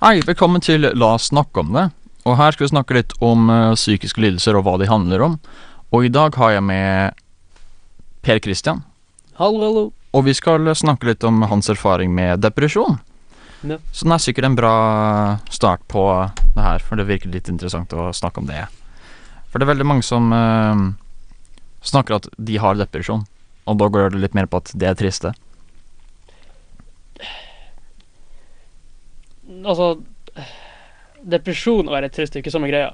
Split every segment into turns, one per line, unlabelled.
Hei, velkommen til La oss snakke om det. Og her skal vi snakke litt om eh, psykiske lidelser og hva de handler om. Og i dag har jeg med Per Christian,
Hallo, hallo.
og vi skal snakke litt om hans erfaring med depresjon.
Ja.
Så den er sikkert en bra start på det her, for det virker litt interessant å snakke om det. For det er veldig mange som eh, snakker at de har depresjon, og da går det litt mer på at det er triste.
Altså, depresjon og være trist er jo ikke samme greia.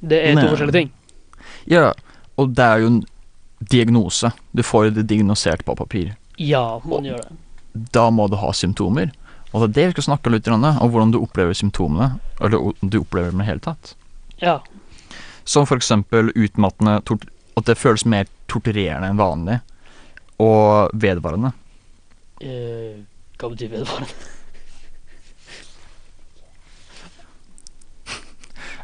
Det er to
Nei.
forskjellige ting.
Ja, og det er jo en diagnose. Du får det diagnosert på papir.
Ja, man gjør det.
da må du ha symptomer. Og det er det vi skal snakke litt om, og hvordan du opplever symptomene. Eller om du opplever dem i det hele tatt.
Ja.
Som for eksempel utmattende tort At det føles mer torturerende enn vanlig. Og vedvarende.
eh, hva betyr vedvarende?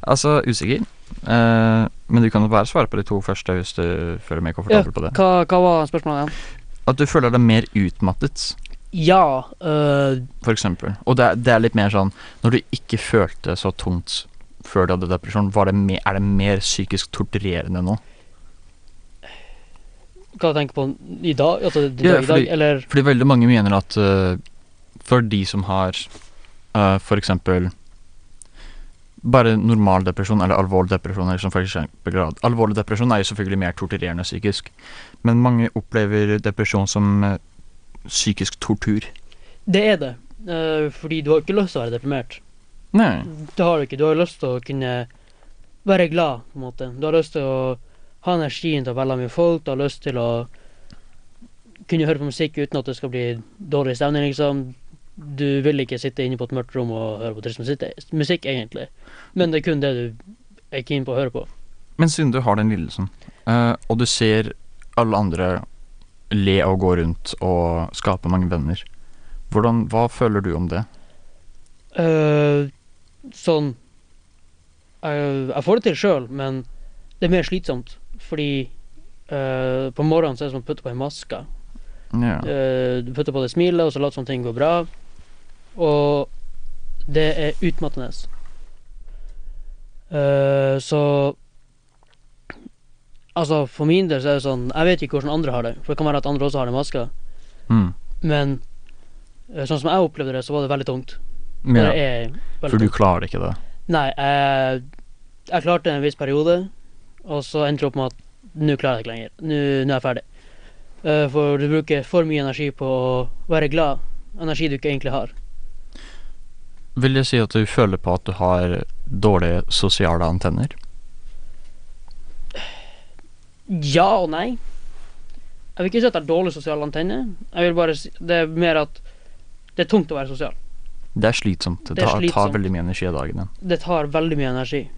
Altså, usikker. Eh, men du kan jo bare svare på de to første hvis du føler mer komfortabel på det.
Hva, hva var spørsmålet igjen?
At du føler deg mer utmattet,
Ja, eh,
for eksempel. Og det er, det er litt mer sånn Når du ikke følte så tungt før du hadde depresjon, var det mer, er det mer psykisk torturerende nå?
hva tenker du på i dag? Altså, i
Ja,
dag, i dag
fordi-
eller
Fordi veldig mange mener at eh, for de som har eh, for eksempel bare normal depresjon eller alvorlig depresjon eller som for eksempel grad. Alvorlig depresjon er jo selvfølgelig mer torturerende psykisk, men mange opplever depresjon som eh, psykisk tortur.
Det er det. Eh, fordi du har ikke lyst til å være deprimert.
Nei.
Det har du ikke. Du har lyst til å kunne være glad, på en måte. Du har lyst til å ha energien til å velge mye folk. Du har lyst til å kunne høre på musikk uten at det skal bli dårlig stemning, liksom. Du vil ikke sitte inne på et mørkt rom og høre på trist musikk, musikk egentlig. Men det er kun det du er keen på å høre på.
Men siden du har den lidelsen, eh, og du ser alle andre le og gå rundt og skape mange venner, hvordan, hva føler du om det?
Eh, sånn eh, Jeg får det til sjøl, men det er mer slitsomt. Fordi eh, på morgenen så er det som å putte på en maske.
Ja.
Eh, Du putter på deg smilet, og så later som ting går bra. Og det er utmattende. Eh, så Altså, for min del så er det sånn Jeg vet ikke hvordan andre har det, for det kan være at andre også har det maska.
Mm.
Men eh, sånn som jeg opplevde det, så var det veldig tungt. Og Det
ja.
er veldig
For du
tungt.
klarer ikke det.
Nei, jeg, jeg klarte det en viss periode, og så endte det opp med at nå klarer jeg det ikke lenger. Nå, nå er jeg ferdig. Eh, for du bruker for mye energi på å være glad. Energi du ikke egentlig har.
Vil det si at du føler på at du har dårlige sosiale antenner?
Ja og nei. Jeg vil ikke si at jeg har dårlig sosial antenne. Jeg vil bare si, Det er mer at det er tungt å være sosial.
Det er slitsomt. Det,
Det er
tar- tar
slitsomt.
veldig mye energi av dagen din.
Det tar veldig mye energi.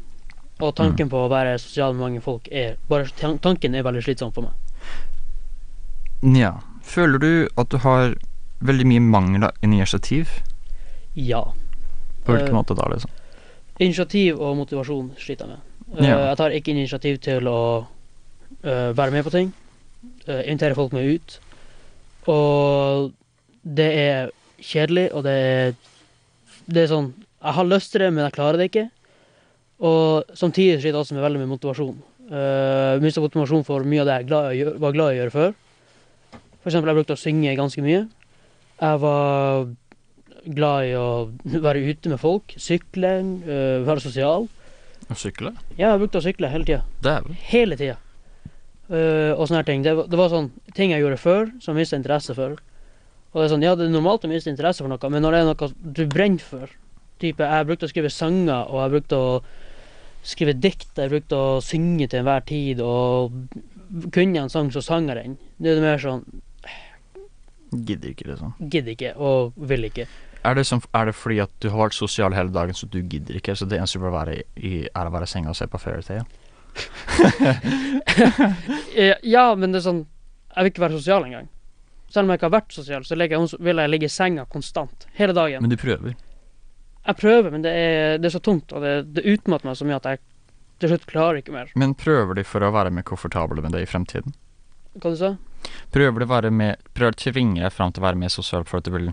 Og tanken på å være sosial med mange folk er Bare tan- tanken er veldig slitsom for meg.
Nja. Føler du at du har veldig mye mangel av initiativ?
Ja.
På hvilken
Eh,
måte da, liksom?
Initiativ og motivasjon sliter jeg med. Eh,
Ja.
Jeg tar ikke initiativ til å eh, være med på ting. eh, invitere folk med ut. Og det er kjedelig, og det er Det er sånn Jeg har lyst til det, men jeg klarer det ikke. Og samtidig sliter jeg også med veldig mye motivasjon. Uh, Mista motivasjon for mye av det jeg er glad i å gjøre- var glad i å gjøre før. For eksempel, jeg brukte å synge ganske mye. Jeg var glad i å være ute med folk, sykle, øh, være sosial.
Å sykle?
Ja, jeg brukte å sykle hele tida.
Dæven.
Hele tida. Øh, og sånne her ting. Det, var- det var sånn ting jeg gjorde før, som jeg mista interesse for. Og det er sånn, ja, det er normalt å miste interesse for noe, men når det er noe du brenner for type, Jeg brukte å skrive sanger, og jeg brukte å skrive dikt, jeg brukte å synge til enhver tid, og kunne jeg en sang, så sang jeg den. Det er mer sånn
Gidder ikke, liksom.
Gidder ikke, og vil ikke.
Er det, som, er det fordi at du har vært sosial hele dagen, så du gidder ikke? Så det eneste du bør være i, er å være i senga og se på Fairytale?
Eh, Ja, men det er sånn Jeg vil ikke være sosial engang. Selv om jeg ikke har vært sosial, så ligger jeg, vil jeg ligge i senga konstant. Hele dagen.
Men du prøver.
Jeg prøver, men det er, det er så tungt, og det, det utmatter meg så mye at jeg til slutt klarer ikke mer.
Men prøver de for å være mer komfortable med det i fremtiden?
Hva du sa du?
Prøver du å være med Prøver å tvinge deg fram til å være mer sosial for at du vil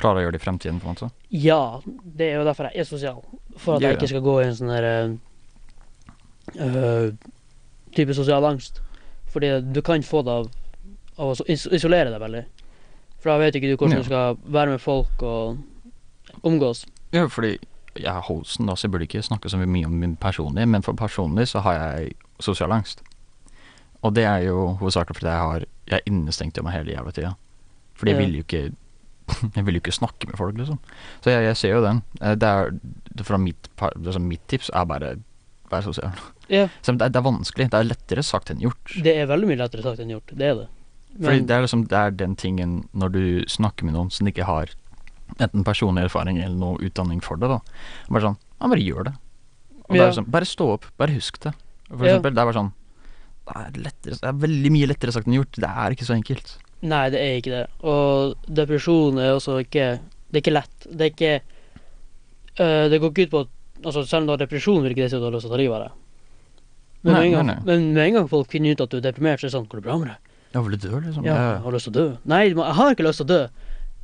klarer å gjøre det i fremtiden, på en måte.
Ja, det er jo derfor jeg er sosial. For at
Ja,
jeg
ja.
ikke skal gå i en sånn der eh, eh, type sosial angst. Fordi du kan få det av, av å is- isolere deg veldig. For da vet ikke du hvordan
Ja.
du skal være med folk og omgås.
Ja, fordi jeg er hosten, da, så jeg burde ikke snakke så mye om min personlige, men for personlig så har jeg sosial angst. Og det er jo hovedsakelig fordi jeg, har, jeg er innestengt i meg hele jævla tida. Fordi jeg
Ja.
vil jo ikke Jeg vil jo ikke snakke med folk, liksom. Så jeg, jeg ser jo den. Eh, Det er det fra mitt, par- det som mitt tips er bare vær sosial.
Ja,
Selv om det er, det er vanskelig. Det er lettere sagt enn gjort.
det er veldig mye lettere sagt enn gjort. Det er det.
Fordi
Men
det er liksom det er den tingen når du snakker med noen som ikke har enten personlig erfaring eller noe utdanning for det, da. Bare sånn Ja, bare gjør det. Og det
Ja.
er liksom, bare stå opp. Bare husk det. For
Ja.
eksempel. Det er bare sånn det er, lettere, det er veldig mye lettere sagt enn gjort. Det er ikke så enkelt.
nei, det er ikke det. Og depresjon er også ikke Det er ikke lett. Det er ikke eh, Det går ikke ut på at altså, Selv om du har depresjon, vil ikke det si at du har lyst til å ta livet av deg. Men,
Nei,
med en gang,
nei, nei.
men med en gang folk finner ut at du er deprimert, så er det sånn Går det bra med deg?
Jeg vil dø, liksom.
Ja, jeg
Jeg,
har lyst til å dø. Nei, men jeg har ikke lyst til å dø.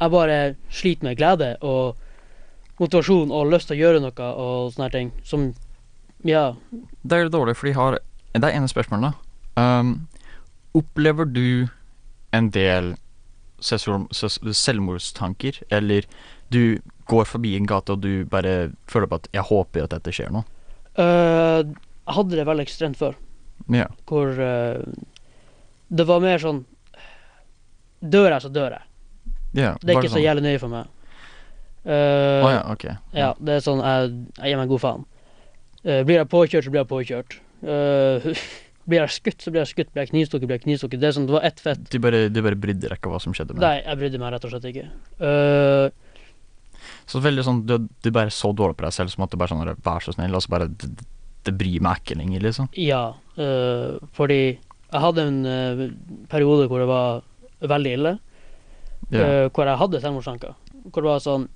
Jeg bare sliter med glede og motivasjon og lyst til å gjøre noe og sånne her ting. Som Ja.
det er jo dårlig, for de har Det er ene spørsmålet, da. Um, opplever du en del sesor- ses- selvmordstanker, eller du går forbi en gate og du bare føler på at 'jeg håper at dette skjer nå'?
Eh, jeg hadde det veldig ekstremt før.
Ja.
hvor eh, det var mer sånn Dør jeg, så dør jeg.
Ja,
Det er
var
ikke så
sånn?
jævlig nøye for meg. Eh,
Å ja, ok.
ja, det er sånn Jeg, jeg gir meg god faen. Eh, blir jeg påkjørt, så blir jeg påkjørt. Eh, blir jeg skutt, så blir jeg skutt. Blir jeg knivstukket, blir jeg knivstukket. Det, er sånn, det var ett fett.
Du bare, du bare brydde deg ikke hva som skjedde med
Nei, jeg brydde meg rett og slett ikke. Eh,
Så veldig sånn, du, du bare så dårlig på deg selv som at du bare sånn Vær så snill, og så bare Det, det bryr meg ikke lenger, liksom.
ja, eh, fordi jeg hadde en eh, periode hvor det var veldig ille.
Ja.
eh, hvor jeg hadde selvmordstanker. Hvor det var sånn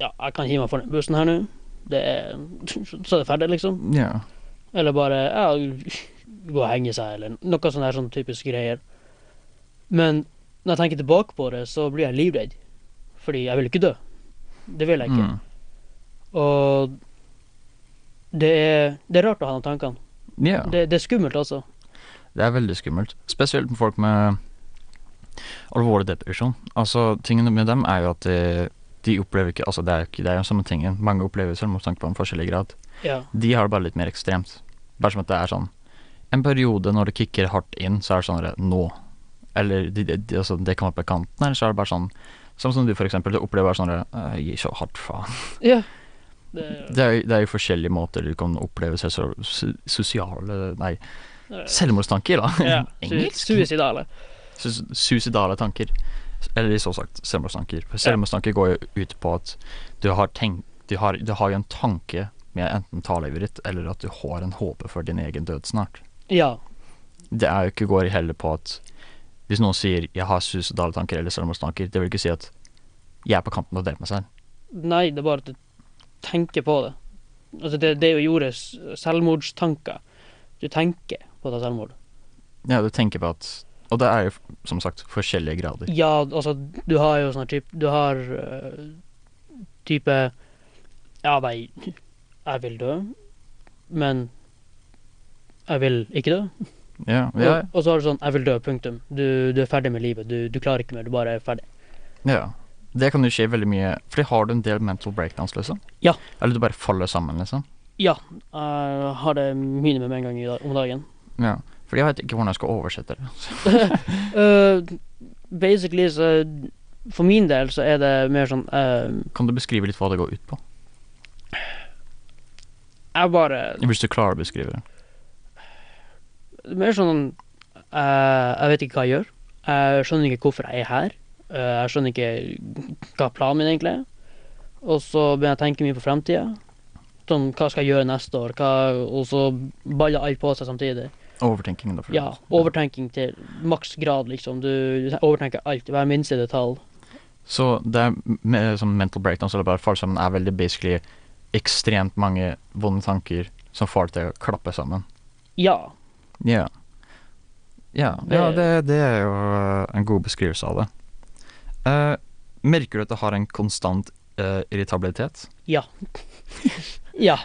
Ja, jeg kan hive meg foran bussen her nå. Det er, så er det ferdig, liksom.
ja.
Eller bare ja, gå og henge seg, eller noe sånn der sånn typisk greier. Men når jeg tenker tilbake på det, så blir jeg livredd. Fordi jeg vil ikke dø. Det vil jeg ikke.
Mm.
Og det er, det er rart å ha de tankene.
ja.
Det, det er skummelt, altså.
Det er veldig skummelt. Spesielt med folk med alvorlig depresjon. Altså, tingene med dem er jo at de, de opplever ikke Altså, det er jo ikke Det er jo samme tingen. Mange opplever selvmordstanke på en forskjellig grad.
Ja.
De har det bare litt mer ekstremt. Bare som at det er sånn En periode når det kicker hardt inn, så er det sånn der, nå. Eller de, de, de, altså, det kan være på kanten, eller så er det bare sånn Sånn som du, for eksempel. Du opplever bare sånn der, «Øh, Gi så hardt faen.
ja. Det,
Det er, jo- det er jo forskjellige måter du kan oppleve seg så, so- sosiale Nei, selvmordstanker, da.
ja. Su-
Engelsk.
Suicidale.
Sus- Suicidale tanker. Eller så sagt selvmordstanker. For selvmordstanker går jo ut på at du har, tenk, du har, du har jo en tanke med enten talivet ditt, eller at du har en håpe for din egen død snart.
Ja.
Det er jo ikke går heller på at hvis noen sier 'jeg har suicidale tanker' eller selvmordstanker, det vil ikke si at jeg er på kanten til å drepe meg selv.
Nei, det er bare at du tenker på det. Altså, det, det er jo ordet s- selvmordstanker. Du tenker på å ta selvmord.
Ja, du tenker på at Og det er jo som sagt forskjellige grader.
Ja, altså, du har jo sånn type Du har øh, type Ja, nei, jeg vil dø, men jeg vil ikke dø.
Ja, ja,
Og, og så har du sånn jeg vil dø, punktum. Du, du er ferdig med livet. Du, du klarer ikke mer. Du bare er ferdig.
ja. Det kan jo skje veldig mye Fordi har du en del mental breakdowns, liksom?
Ja.
Eller du bare faller sammen, liksom?
Ja, jeg har det minimum en gang i dag, om dagen.
Ja, fordi jeg vet ikke hvordan jeg skal oversette det.
Eh, basically så For min del så er det mer sånn eh,
Kan du beskrive litt hva det går ut på?
Jeg bare
Hvis du klarer å beskrive det.
Mer sånn eh, Jeg vet ikke hva jeg gjør. Jeg skjønner ikke hvorfor jeg er her. Eh, jeg skjønner ikke hva planen min egentlig er. Og så begynner jeg å tenke mye på fremtida. Sånn, hva skal jeg gjøre neste år? Hva, og så baller alt på seg samtidig.
Overtenkingen, da. for
Ja,
eksempel.
Overtenking til maks grad, liksom. Du, du overtenker alt, hver minste detalj.
Så det er med, som mental breakdowns eller bare fall sammen er veldig basically ekstremt mange vonde tanker som får det til å klappe sammen.
Ja.
Ja. Ja,
Det-
ja det, det er jo eh, en god beskrivelse av det. Eh, Merker du at du har en konstant eh, irritabilitet?
Ja,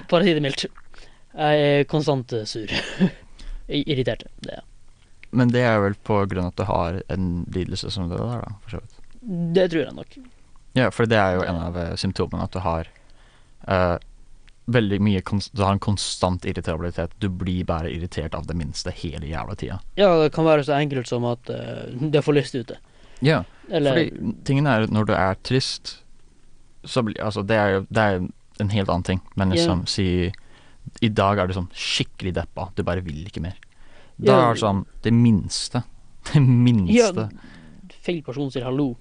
for å si det mildt. Jeg er konstant eh, sur. Irritert. Det, er jeg.
Men det er vel på grunn av at du har en lidelse som det der, da, for så vidt.
det tror jeg nok.
Ja, for det er jo en av eh, symptomene, at du har eh, veldig mye kons Du har en konstant irritabilitet. Du blir bare irritert av det minste hele jævla tida.
Ja, det kan være så enkelt som at eh, det får lyst ute.
Ja,
Eller
fordi tingen er at når du er trist, så blir Altså, det er jo det er en helt annen ting, men
Ja.
liksom si I dag er du sånn skikkelig deppa, du bare vil ikke mer. Da
Ja.
er det sånn det minste. Det minste.
feil person sier hallo.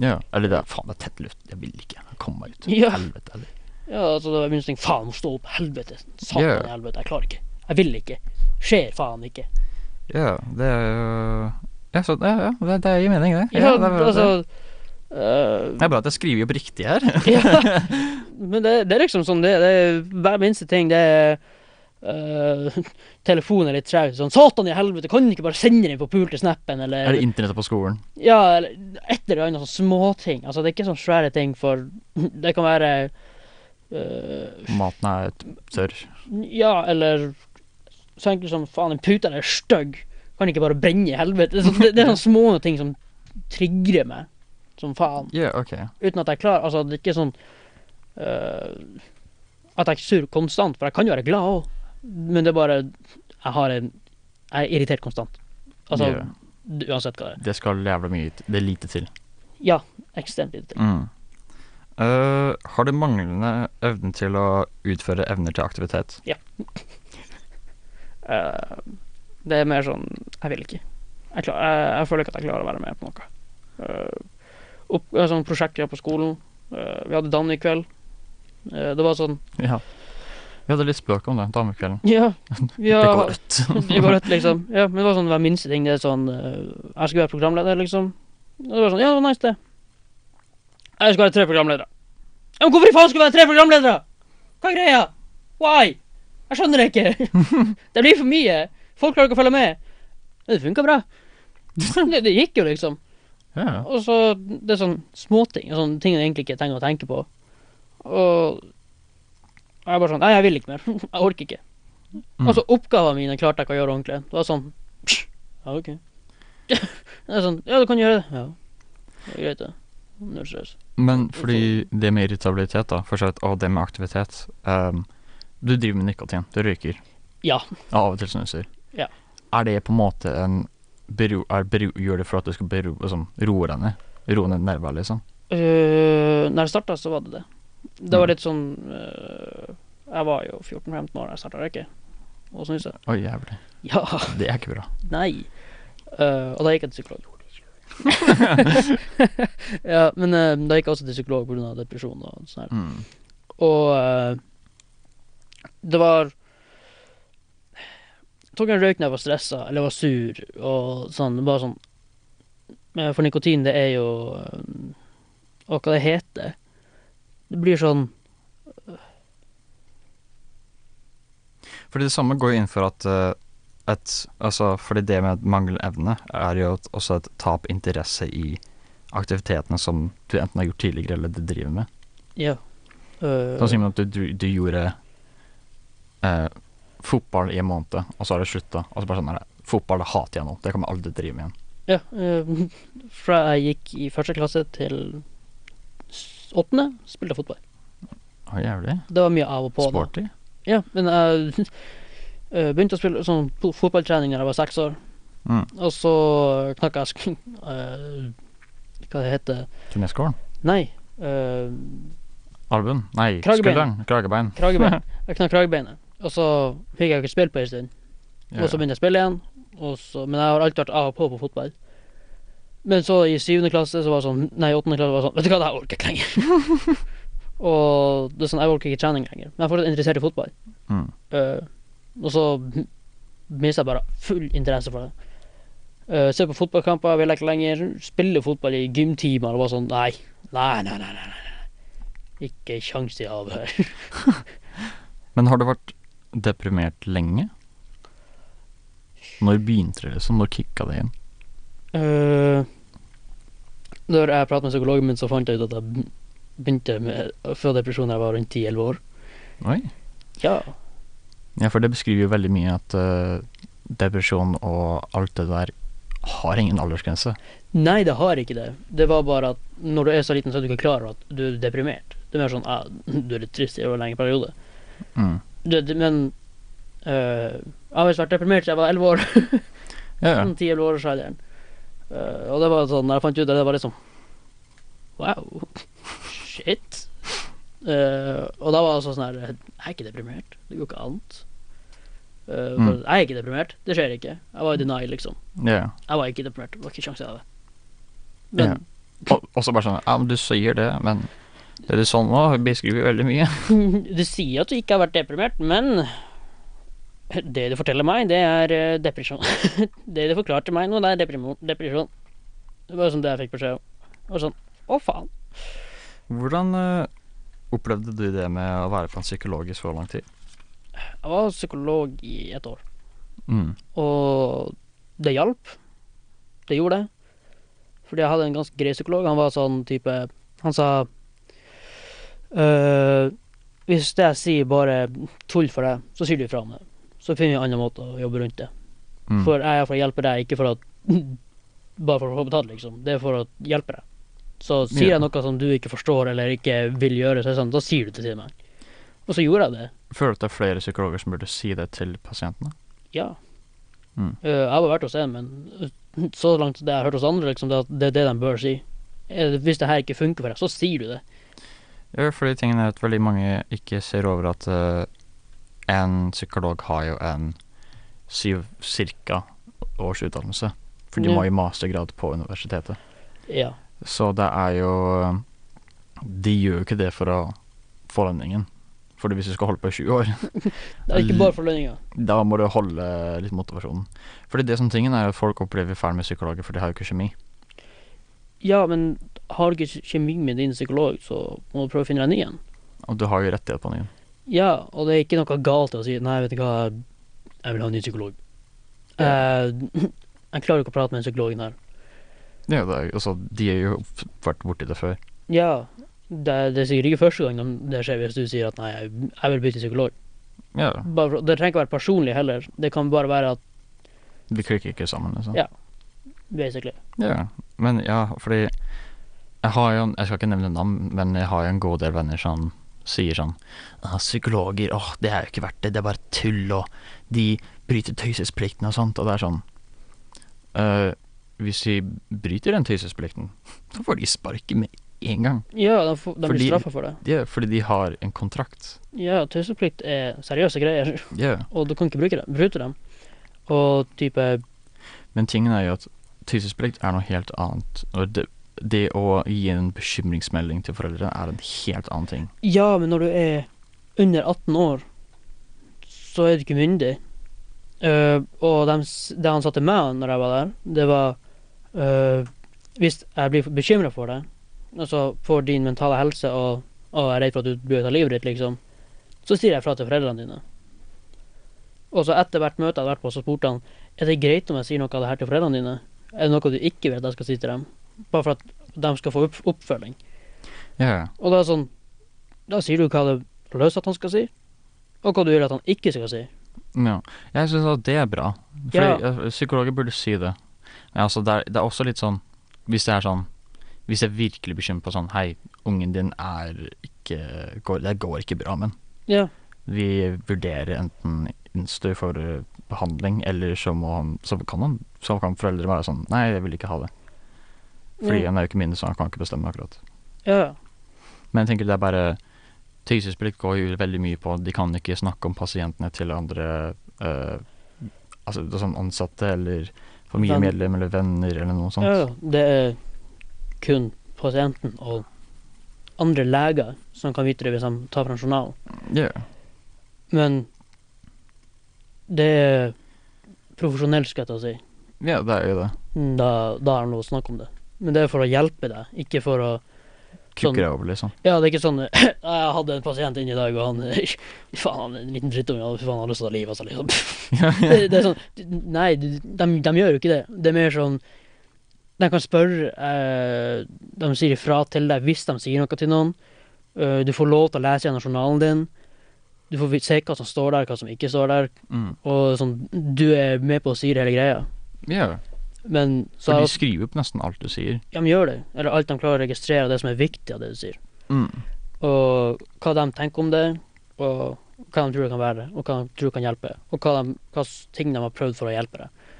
Ja. Eller det er faen, det er tett luft, jeg vil ikke. Kom meg ut.
Ja.
Helvete. Eller.
Ja, altså det var minst ting. Faen, stå opp. Helvete. Satan
Ja.
i helvete. Jeg klarer ikke. Jeg vil ikke. Skjer faen ikke.
Ja, det er jo Ja, så, ja, ja det, det gir mening, det.
Ja,
Ja, det, er bra,
altså
det.
eh,
det er bra at jeg skriver opp riktig her.
ja. Men det, det er liksom sånn det, er. det er. Hver minste ting, det er eh, Telefonen er litt traut. Sånn 'Satan i helvete, kan du ikke bare sende den på pulte snappen?'
Er
Eller,
det internettet på skolen?
ja, eller et eller annet sånn småting. Altså, det er ikke sånn svære ting, for det kan være eh,
Maten er et tørr.
Ja, eller så enkelt som faen, en pute der er stygg. Kan ikke bare brenne i helvete. Så det, det er sånne små ting som trigger meg som faen.
Ja, ok.
Uten at jeg klarer Altså, det er ikke sånn øh, At jeg er sur konstant, for jeg kan jo være glad òg. Men det er bare Jeg har en Jeg er irritert konstant. Altså
Ja.
d- uansett hva det er.
Det skal jævla mye til. Det er lite til.
Ja, ekstremt irritert.
Mm. Eh, har du manglende evne til å utføre evner til aktivitet?
Eh, det er mer sånn Jeg vil ikke. Jeg, klar, jeg, jeg føler ikke at jeg klarer å være med på noe. Uh, opp, eh, sånn prosjekt vi hadde på skolen. eh, vi hadde dans i kveld. Eh, det var sånn
Ja. Vi hadde litt spøk om det damekvelden.
Ja, vi
Det
har
går rødt.
Det går rett, liksom. Ja, men det var sånn hver minste ting. Det er sånn eh, Jeg skal være programleder, liksom. Og det var sånn Ja, det var nice, det. Jeg skal være tre programledere. Ja, men hvorfor i faen skal jeg være tre programledere?! Hva er greia? Why? Jeg skjønner det ikke. det blir for mye. Folk klarer ikke å følge med. Men det funka bra. Det, det gikk jo, liksom.
ja. ja.
Og så Det er sånn småting. og Sånne ting jeg egentlig ikke trenger å tenke på. Og jeg er bare sånn Nei, jeg vil ikke mer. Jeg orker ikke.
Mm.
Altså, oppgavene mine klarte jeg ikke å gjøre ordentlig. Det var sånn psh, Ja, OK. det er sånn Ja, du kan gjøre det. Ja. Det er greit, det. Null stress.
Men fordi det med irritabilitet, da, for så vidt, og det med aktivitet ehm, Du driver med nikotin, du røyker,
Ja.
og av og til snuser.
Ja.
Er det på en måte en bero, er bero, Gjør det for at du skal bero, liksom, roe deg ned? Roe ned nerver, liksom?
Øh, når jeg starta, så var det det. Det
Mm.
var litt sånn øh, Jeg var jo 14-15 år da jeg starta å røyke. Og snuse.
Oi, jævlig.
Ja.
Det er ikke bra.
Nei. Øh, og da gikk jeg til psykolog. ja, men øh, da gikk jeg også til psykolog pga. depresjon og sånn her.
Mm.
Og eh, det var Tok en røyk når jeg var stressa eller var sur og sånn. Bare sånn Eh, For nikotin, det er jo eh, Og hva det heter. Det blir sånn
Fordi det samme går jo inn for at eh, et, altså, Fordi det med manglende evne er jo et, også et tap interesse i aktivitetene som du enten har gjort tidligere, eller du driver med.
Ja. Eh,
Sånn som at du, du, du gjorde eh, fotball i en måned, og så har du slutta. Og så bare sånn er det. Fotball det hater jeg nå. Det kan jeg aldri drive med igjen.
ja eh, fra jeg gikk i første klasse til s- åttende, spilte jeg fotball.
Å, jævlig.
Det var mye av og på. da.
Sporty.
Ja, men jeg eh, begynte å spille sånn po- fotballtrening da jeg var seks år.
Mm.
Og så knakk jeg sk... eh, Hva det heter
Kneskålen.
Nei. eh,
Albuen. Nei,
Kragebein.
skulderen. Kragebein.
kragebein. Jeg knakk kragebeinet. Og så fikk jeg ikke spilt på en stund. Og så
Ja.
begynte jeg å spille igjen. Og så, men jeg har alltid vært av og på på fotball. Men så i syvende klasse så var det sånn Nei, i åttende klasse var det sånn Vet du hva, det her orker jeg ikke lenger. og det er sånn, jeg orker ikke trening lenger. Men jeg er fortsatt interessert i fotball.
Mm.
Eh, og så m- mister jeg bare full interesse for det. Eh, ser på fotballkamper, vil jeg ikke lenger. Spille fotball i gymtimer og bare sånn Nei, nei, nei. nei, nei, nei. nei. Ikke kjangs til avhør.
Men har du vært deprimert lenge? Når begynte det, liksom? Når kicka det inn?
Eh, Når jeg pratet med psykologen min, så fant jeg ut at jeg be- begynte med å få depresjon da jeg var rundt 10-11 år.
Oi.
Ja.
Ja, for det beskriver jo veldig mye at eh, depresjon og alt det der har ingen aldersgrense.
Nei, det har ikke det. Det var bare at når du er så liten, så er du ikke klar over at du er deprimert. Det er mer sånn ah, du er litt trist i en lenge periode.
Mm.
Det, det, men eh, jeg har visst vært deprimert siden jeg var 11 år.
Ja, ja.
Sånn 10-11 år siden. Eh, og det var sånn, når jeg fant ut det, det var liksom Wow. Shit. Eh, og da var det altså sånn her Jeg er ikke deprimert. Det går ikke annet. Eh, for
Mm.
Jeg er ikke deprimert. Det skjer ikke. Jeg var i denial, liksom.
ja.
Jeg var ikke deprimert. Det var ikke sjanse av det.
ja.
Men
Og, og så bare sånn Ja, men du sier det, men det du sa nå, beskriver veldig mye.
du sier at du ikke har vært deprimert, men det du forteller meg, det er eh, depresjon. det du forklarte meg nå, det er deprimo- depresjon. Det var sånn det jeg fikk beskjed om. Og sånn Å, faen.
Hvordan eh, opplevde du det med å være på en psykolog i så lang tid?
Jeg var psykolog i et år,
Mm.
og det hjalp. Det gjorde det. Fordi jeg hadde en ganske grei psykolog. Han var sånn type Han sa «Øh, Hvis det jeg sier bare tull for deg, så sier du ifra om det. Så finner vi en annen måte å jobbe rundt det.
Mm.
For jeg er for å hjelpe deg, ikke for at Bare for å få betalt, liksom. Det er for å hjelpe deg. Så
Ja.
sier jeg noe som du ikke forstår eller ikke vil gjøre, så er det sånn, da sier du det til meg. Og så gjorde jeg det.
Føler du at det er flere psykologer som burde si det til pasientene?
Ja.
Mm.
Eh, jeg har bare vært hos en, men eh, så langt det jeg har hørt hos andre, liksom, det, er at det er det de bør si. Eh, Hvis det her ikke funker for deg, så sier du det.
Ja, fordi tingen er at veldig mange ikke ser over at eh, en psykolog har jo en syv cirka års utdannelse. For de
Ja.
må jo mastergrad på universitetet.
Ja.
Så det er jo eh, De gjør jo ikke det for å få lønningen. For hvis du skal holde på i 20 år,
Det er ikke bare for lønninga.
da må du holde litt motivasjonen. Fordi det som tingen er at folk opplever feil med psykologer, for de har jo ikke kjemi.
Ja, men har du ikke kjemi med din psykolog, så må du prøve å finne deg en ny en.
Og du har jo rettighet på den.
Ja, og det er ikke noe galt i å si nei, vet du hva, jeg vil ha en ny psykolog. Eh, jeg klarer ikke å prate med den psykologen her.
Det er jo det. Altså, de har jo f- vært borti det før.
Ja, det, er- det er sikkert ikke første gang de- det skjer hvis du sier at nei, jeg, jeg vil bytte psykolog.
Ja,
Bare for, det trenger ikke være personlig heller, det kan bare være at
Vi klikker ikke sammen, liksom.
Ja. basically.
Ja, men ja, fordi jeg har jo en, Jeg skal ikke nevne navn, men jeg har jo en god del venner som sier sånn «Ah, Psykologer, åh, det er jo ikke verdt det, det er bare tull, og de bryter taushetsplikten og sånt, og det er sånn «Eh, Hvis de bryter den taushetsplikten, så får de sparken med en gang.
Ja, de, får- de
Fordi-
blir straffa for det.
Det er fordi de har en kontrakt.
Ja, taushetsplikt er seriøse greier,
Ja.
og du kan ikke bruke dem, bryte dem. Og type
Men tingen er jo at taushetsplikt er noe helt annet. Og det, det å gi en bekymringsmelding til foreldrene er en helt annen ting.
Ja, men når du er under 18 år, så er du ikke myndig. Eh, og dem s- det han sa til meg når jeg var der, det var eh, Hvis jeg blir bekymra for deg, altså for din mentale helse, og, og jeg er redd for at du blir ta livet ditt, liksom, så sier jeg fra til foreldrene dine. Og så etter hvert møte jeg har vært på, så spurte han er det greit om jeg sier noe av det her til foreldrene dine. Er det noe du ikke vil at jeg skal si til dem? Bare for at de skal få opp oppfølging.
Ja,
Og da er det sånn Da sier du hva det er løst at han skal si, og hva du vil at han ikke skal si.
Ja. Jeg syns at det er bra. Fordi
Ja.
eh, psykologer burde si det. Men altså, det, er, det er også litt sånn Hvis det er sånn Hvis jeg virkelig bekymrer på sånn Hei, ungen din er ikke går, Det går ikke bra, men
Ja.
vi vurderer enten innstø for eh, behandling, eller så må han Så kan han Så kan foreldre være sånn Nei, jeg vil ikke ha det. Fordi
Ja.
han er jo ikke min, så han kan ikke bestemme akkurat.
Ja.
Men jeg tenker det er bare Taushetsplikt går jo veldig mye på De kan ikke snakke om pasientene til andre eh, Altså det er sånn ansatte eller familiemedlemmer eller venner eller noe sånt.
ja. Det er kun pasienten og andre leger som kan vite det hvis de tar fra en journal.
Ja.
Men det er profesjonelt, skal jeg ta og si.
ja, det er jo det.
Da, da er det lov å snakke om det. Men det er for å hjelpe deg, ikke for å Sånn.
Kukker deg over, liksom.
Ja, det er ikke sånn «Ja, Jeg hadde en pasient inne i dag, og han Fy faen, han er en liten drittunge. og Fy faen, han har lyst til å ta livet av seg, liksom. det, det er sånn Nei, de, de, de gjør jo ikke det. Det er mer sånn De kan spørre, eh, de sier ifra til deg hvis de sier noe til noen. Eh, du får lov til å lese gjennom journalen din. Du får vi- se hva som står der, hva som ikke står der.
Mm.
Og sånn, du er med på å styre hele greia.
Ja,
Men så
for
er
de
det også-
skriver opp nesten alt du sier.
ja, men gjør det. Eller alt de klarer å registrere, og det som er viktig av det du sier.
Mm.
Og hva de tenker om det, og hva de tror det kan være, og hva de tror kan hjelpe. Og hva, de, hva s- ting de har prøvd for å hjelpe deg.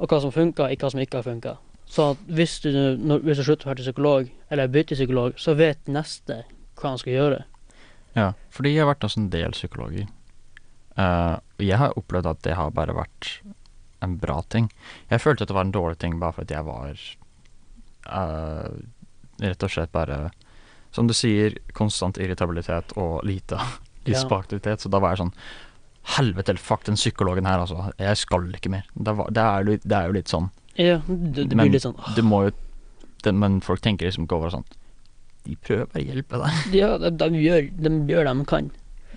Og hva som funker, ikke hva som ikke har funka. Så at hvis du, når, hvis du slutter å være til psykolog, eller bytter psykolog, så vet neste hva han skal gjøre.
Ja, fordi jeg har vært hos en del psykologer. Eh, og jeg har opplevd at det har bare vært en bra ting. Jeg følte at det var en dårlig ting bare fordi jeg var eh, rett og slett bare Som du sier, konstant irritabilitet og lite lyst på aktivitet. Så da var jeg sånn Helvete, fuck den psykologen her, altså. Jeg skal ikke mer. Det, var, det, er, jo litt- det er jo litt sånn.
Ja, det, det
Men-
blir litt sånn «Åh,
Det må jo det, Men folk tenker liksom ikke over sånn De prøver bare å hjelpe deg.
Ja, de, de, gjør, de gjør det de kan.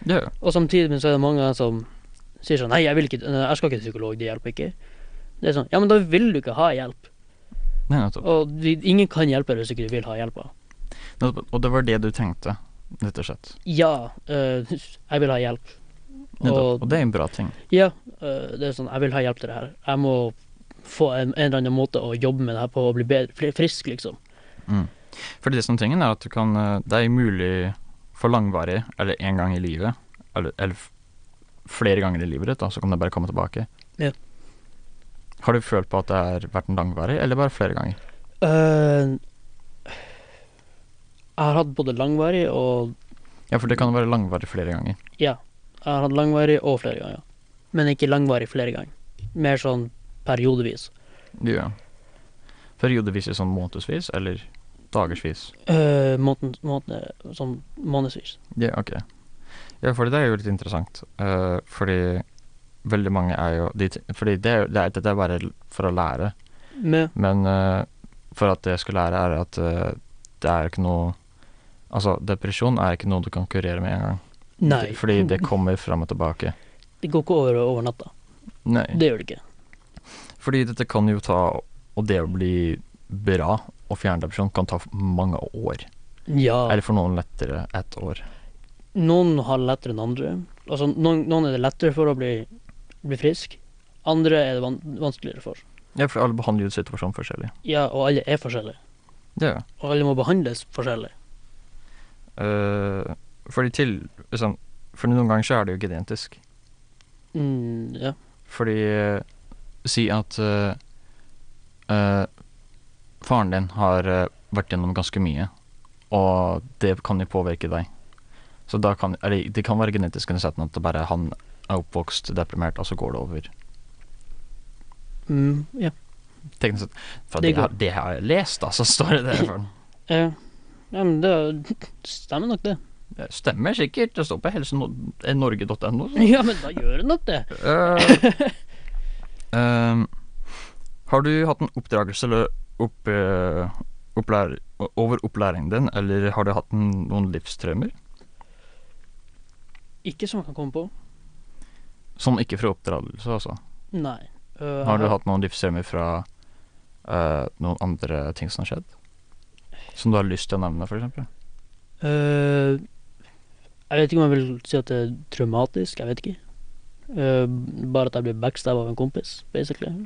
Det gjør
Og samtidig men så er det mange som sier sånn Nei, jeg, vil ikke, nei, jeg skal ikke til psykolog, det hjelper ikke. Det er sånn, Ja, men da vil du ikke ha hjelp.
Nei, nettopp.
Og vi, ingen kan hjelpe deg hvis ikke du vil ha hjelpa.
Nettopp, Og det var det du tenkte, rett og slett.
Ja, øh, jeg vil ha hjelp.
Nettopp. Og
Og-
det er en bra ting.
Ja, øh, det er sånn, jeg vil ha hjelp til det her. Jeg må få en, en eller annen måte å jobbe med det her på og bli bedre, fri- frisk, liksom.
For det som tingen er at du kan eh, Det er mulig for langvarig, eller én gang i livet, eller, eller f- flere ganger i livet ditt, da, så kan det bare komme tilbake.
Ja.
Har du følt på at det har vært en langvarig, eller bare flere ganger?
Øh, jeg har hatt både langvarig og
Ja, for det kan være langvarig flere ganger.
Ja. Jeg har hatt langvarig og flere ganger. Men ikke langvarig flere ganger. Mer sånn periodevis.
Ja. Periodevis i sånn månedsvis, eller dagersvis?
Eh, måneden, måned, sånn månedsvis.
Ja, ok. Ja, fordi det er jo litt interessant. eh, fordi veldig mange er jo de, t- Fordi det, er jo- det er, dette er bare l- for å lære.
Med
Men eh, for at det jeg skal lære, er at eh, det er ikke noe Altså, depresjon er ikke noe du kan kurere med en gang.
Nei.
Det- Fordi det kommer fram og tilbake.
Det går ikke over over natta.
Nei.
Det gjør det ikke.
Fordi dette kan jo ta Og det å bli bra og fjerne depresjon kan ta f- mange år.
Ja.
Eller for noen lettere ett år.
Noen har det lettere enn andre. Altså, noen, noen er det lettere for å bli, bli frisk. Andre er det van vanskeligere for.
Ja, for alle behandler jo situasjonen forskjellig.
Ja, og alle er forskjellige.
Det gjør
Og alle må behandles forskjellig.
Uh, fordi til liksom, For noen ganger så er det jo genetisk.
Mm, ja.
Fordi eh, Si at eh, eh, faren din har eh, vært gjennom ganske mye, og det kan jo påvirke deg. Så da kan Eller det kan være genetisk i den setningen at det bare er han er oppvokst deprimert, og så går det over.
Mm, ja.
Teknisk sett. sånn, For
Det
det,
går.
har- det har jeg lest, altså, står det der. For.
Eh, ja, men det stemmer nok, det.
Det Stemmer sikkert. Det står på eh, helsenorge.no.
Ja, men da gjør det nok det.
Eh, ehm, har du hatt en oppdragelse eller opp, eh, opplær, over opplæringen din, eller har du hatt en, noen livstraumer?
Ikke som jeg kan komme på.
Sånn ikke fra oppdragelse, altså.
Nei. Eh,
Har du
jeg-
hatt noen livstraumer fra eh, noen andre ting som har skjedd? Som du har lyst til å nevne, f.eks.?
Eh, jeg vet ikke om jeg vil si at det er traumatisk, jeg vet ikke. Eh, bare at jeg blir backstabba av en kompis, basically.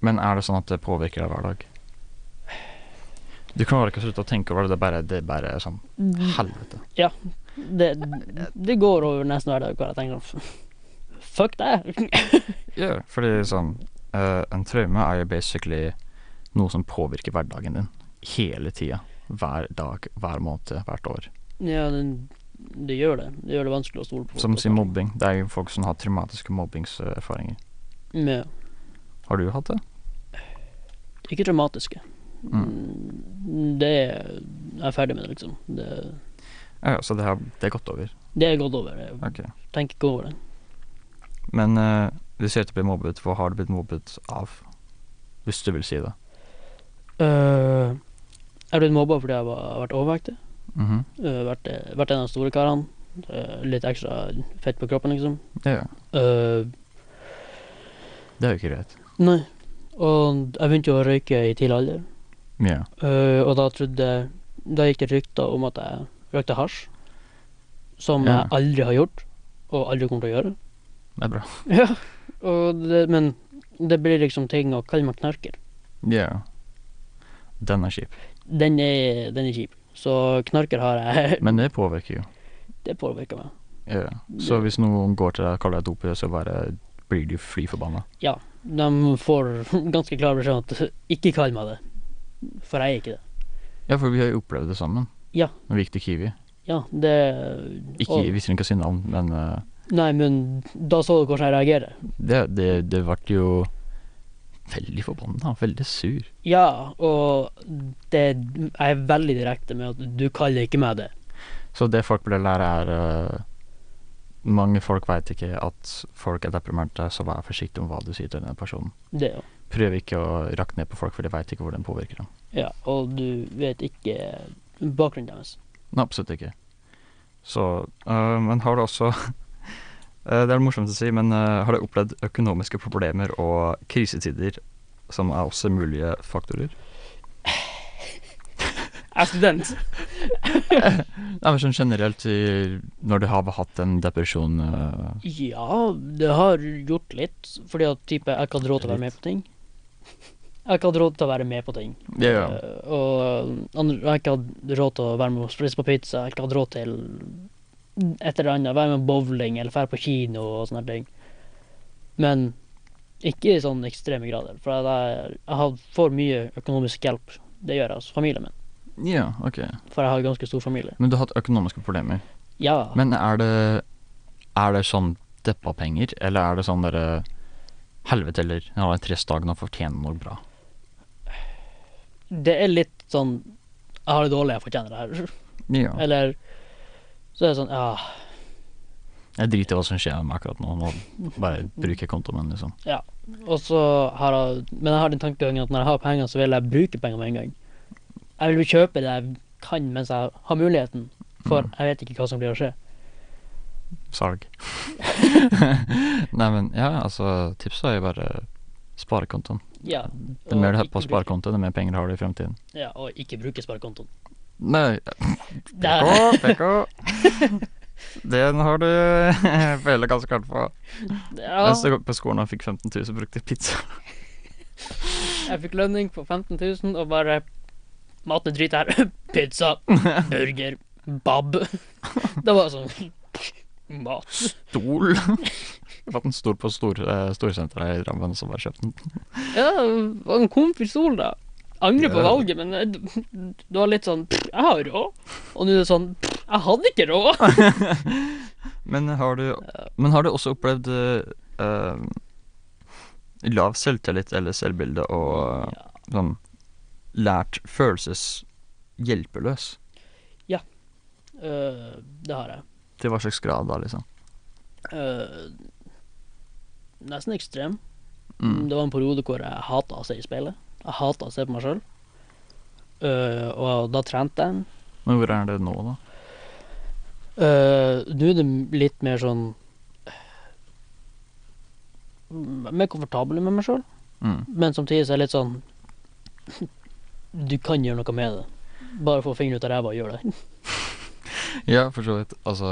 Men er det sånn at det påvirker deg hver dag? Du klarer ikke å slutte å tenke over det, det er bare, det er bare sånn helvete.
Det, det går over nesten hver dag hvor jeg tenker sånn, Fuck deg!
Ja, fordi sånn eh, En traume er jo basically noe som påvirker hverdagen din hele tida. Hver dag, hver måned, hvert år.
ja, det, det gjør det. Det gjør det vanskelig å stole på.
Som sier mobbing. Det er jo folk som har traumatiske mobbingserfaringer.
Ja,
Har du hatt det?
ikke traumatiske.
Mm.
Mm, Det er jeg er ferdig med det, liksom. Det,
Ja, ja, så det, har, det er gått over.
det er gått over. Jeg
Ok.
tenker ikke over det.
Men eh, du sier at du blir mobbet. Hva har du blitt mobbet av? Hvis du vil si det.
Eh, jeg ble mobba fordi jeg var, har vært overvektig.
Mhm.
Eh, vært, vært en av de store karene. Eh, litt ekstra fett på kroppen, liksom.
Ja, ja.
Eh,
Det er jo ikke greit.
nei. Og jeg begynte jo å røyke i tidlig alder.
Ja.
Eh, og da trodde Da gikk det rykter om at jeg røykte hasj. Som
Ja.
jeg aldri har gjort, og aldri kommer til å gjøre.
Det er bra.
Ja, og det, Men det blir liksom ting å kalle meg knarker.
Ja. Den er kjip.
Den er, den er kjip. Så knarker har jeg
Men det påvirker jo.
Det påvirker meg.
Ja. Så hvis noen går til deg og kaller deg dopet, så bare blir du fly forbanna.
De får ganske klar beskjed om at ikke kall meg det. For jeg er ikke det.
Ja, for vi har jo opplevd det sammen.
Ja.
Når vi gikk til Kiwi.
Ja, det
Ikke,
og-
Vi trenger ikke å si navn, men eh,
Nei, men da så du hvordan jeg reagerer.
det, det, det ble jo veldig forbanna. Veldig sur.
Ja, og det, jeg er veldig direkte med at du kaller ikke meg det.
Så det folk burde lære, er eh, Mange folk veit ikke at folk er deprimerte, så vær forsiktig om hva du sier til den personen.
Det jo.
Prøv ikke å rakke ned på folk, for de veit ikke hvordan det påvirker dem.
Ja, og du vet ikke bakgrunnen deres.
Nei, absolutt ikke. Så eh, Men har du også eh, Det er det morsomt å si, men eh, har du opplevd økonomiske problemer og krisetider som er også mulige faktorer?
Jeg er student.
Nei, men sånn generelt i, når du har hatt en depresjon eh,
Ja, det har gjort litt, fordi at type, jeg ikke hadde råd til å være med på ting. Jeg ikke hadde råd til å være med på ting.
Ja, ja.
Eh, Og andre, jeg ikke hadde råd til å være med og spise på pizza, jeg ikke hadde råd til et eller annet, være med bowling eller være på kino og sånne ting. Men ikke i sånne ekstreme grader, for jeg, jeg har for mye økonomisk hjelp. Det gjør jeg hos familien min,
Ja, ok.
for jeg har ganske stor familie.
Men du har hatt økonomiske problemer.
Ja,
Men er det Er det sånn deppa penger, eller er det sånn derre Helvete eller Jeg har en trestdag og fortjener noe bra.
det er litt sånn Jeg har det dårlig, jeg fortjener det her.
Ja.
Eller så er det sånn Ja,
Jeg driter i hva som skjer med meg akkurat nå. Nå bare bruker jeg kontoen min, liksom.
og så har jeg Men jeg har den tankegangen at når jeg har penger, så vil jeg bruke penger med en gang. Jeg vil jo kjøpe det jeg kan mens jeg har muligheten,
Mm.
for jeg vet ikke hva som blir å skje.
Salg. Nei, men ja, altså Tipset er jo bare sparekontoen.
Ja,
Det
og
mer du har
ikke
på
bruke-
sparekontoen, det mer penger har du i fremtiden.
Ja, og ikke bruke sparekontoen.
Nei,
Der.
PK, PK. Den har du føler ganske hardt på.
Ja,
Mens jeg gikk på skolen og fikk 15 000, brukte jeg pizza.
jeg fikk lønning på 15 000 og bare Maten er drit her. Pizza, burger, bab. Det var sånn Mat.
Stol. Jeg fant en stol på stor, eh, storsenteret i Drammen, så bare kjøpte den.
Ja, det var en komfy stol, da. Angrer på
Ja.
valget, men eh, d- det var litt sånn pff, Jeg har råd. Og nå er det sånn pff, Jeg hadde ikke råd.
Men har du, men har du også opplevd eh, eh, lav selvtillit eller selvbilde og
Ja.
sånn lært følelses hjelpeløs?
Eh, det har jeg.
Til hva slags grad da, liksom?
Eh, nesten ekstrem.
Mm.
Det var en periode hvor jeg hata å se i speilet. Jeg hata å se på meg sjøl. og da trente jeg.
Men hvor er det nå, da?
Eh, Nå er det litt mer sånn Mer komfortabel med meg sjøl.
Mm.
Men samtidig så er det litt sånn Du kan gjøre noe med det. Bare få fingeren ut av ræva og gjøre det.
Ja, for så vidt. Altså,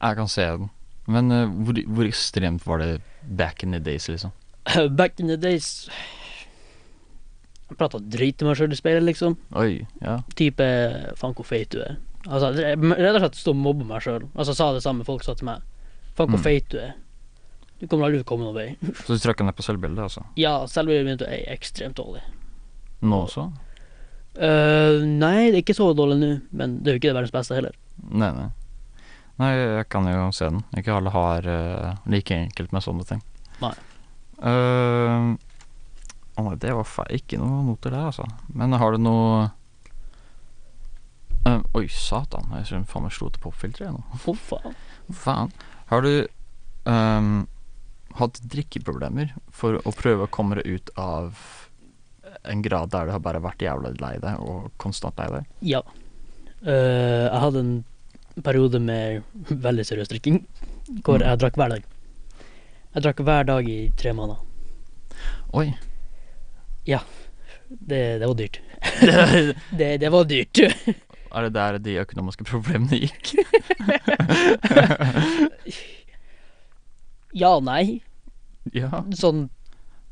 jeg kan se den. Men eh, hvor, hvor ekstremt var det back in the days, liksom?
Back in the days Jeg prata drit til meg sjøl i speilet, liksom.
Oi, ja.
Type faen hvor feit du er. Altså, jeg rett og slett stå og mobbe meg sjøl. Altså sa det samme folk sa til meg. Faen hvor
Mm.
feit du er. Du kommer aldri til å komme noen vei.
Så du trakk ned på selvbildet, altså?
Ja, selvbildet mitt er ekstremt dårlig.
Nå også?
Eh, nei, det er ikke så dårlig nå, men det er jo ikke det verdens beste heller.
Nei, nei. Nei, jeg kan jo se den. Ikke alle har eh, like enkelt med sånne ting.
Nei.
Eh, å nei, det var feil. Ikke noe noter der, altså. Men har du noe eh, Oi, satan. Jeg tror faen meg slo til popfilteret jeg nå.
Å, faen.
Faen. Har du ehm, hatt drikkeproblemer for å prøve å komme deg ut av en grad der du har bare vært jævla lei deg, og konstant lei deg?
Ja. Eh, jeg hadde en periode med veldig seriøs drikking, hvor jeg drakk hver dag. Jeg drakk hver dag i tre måneder.
Oi.
Det, det var dyrt. det, det var dyrt.
Er det der de økonomiske problemene gikk?
ja og nei.
Ja.
Sånn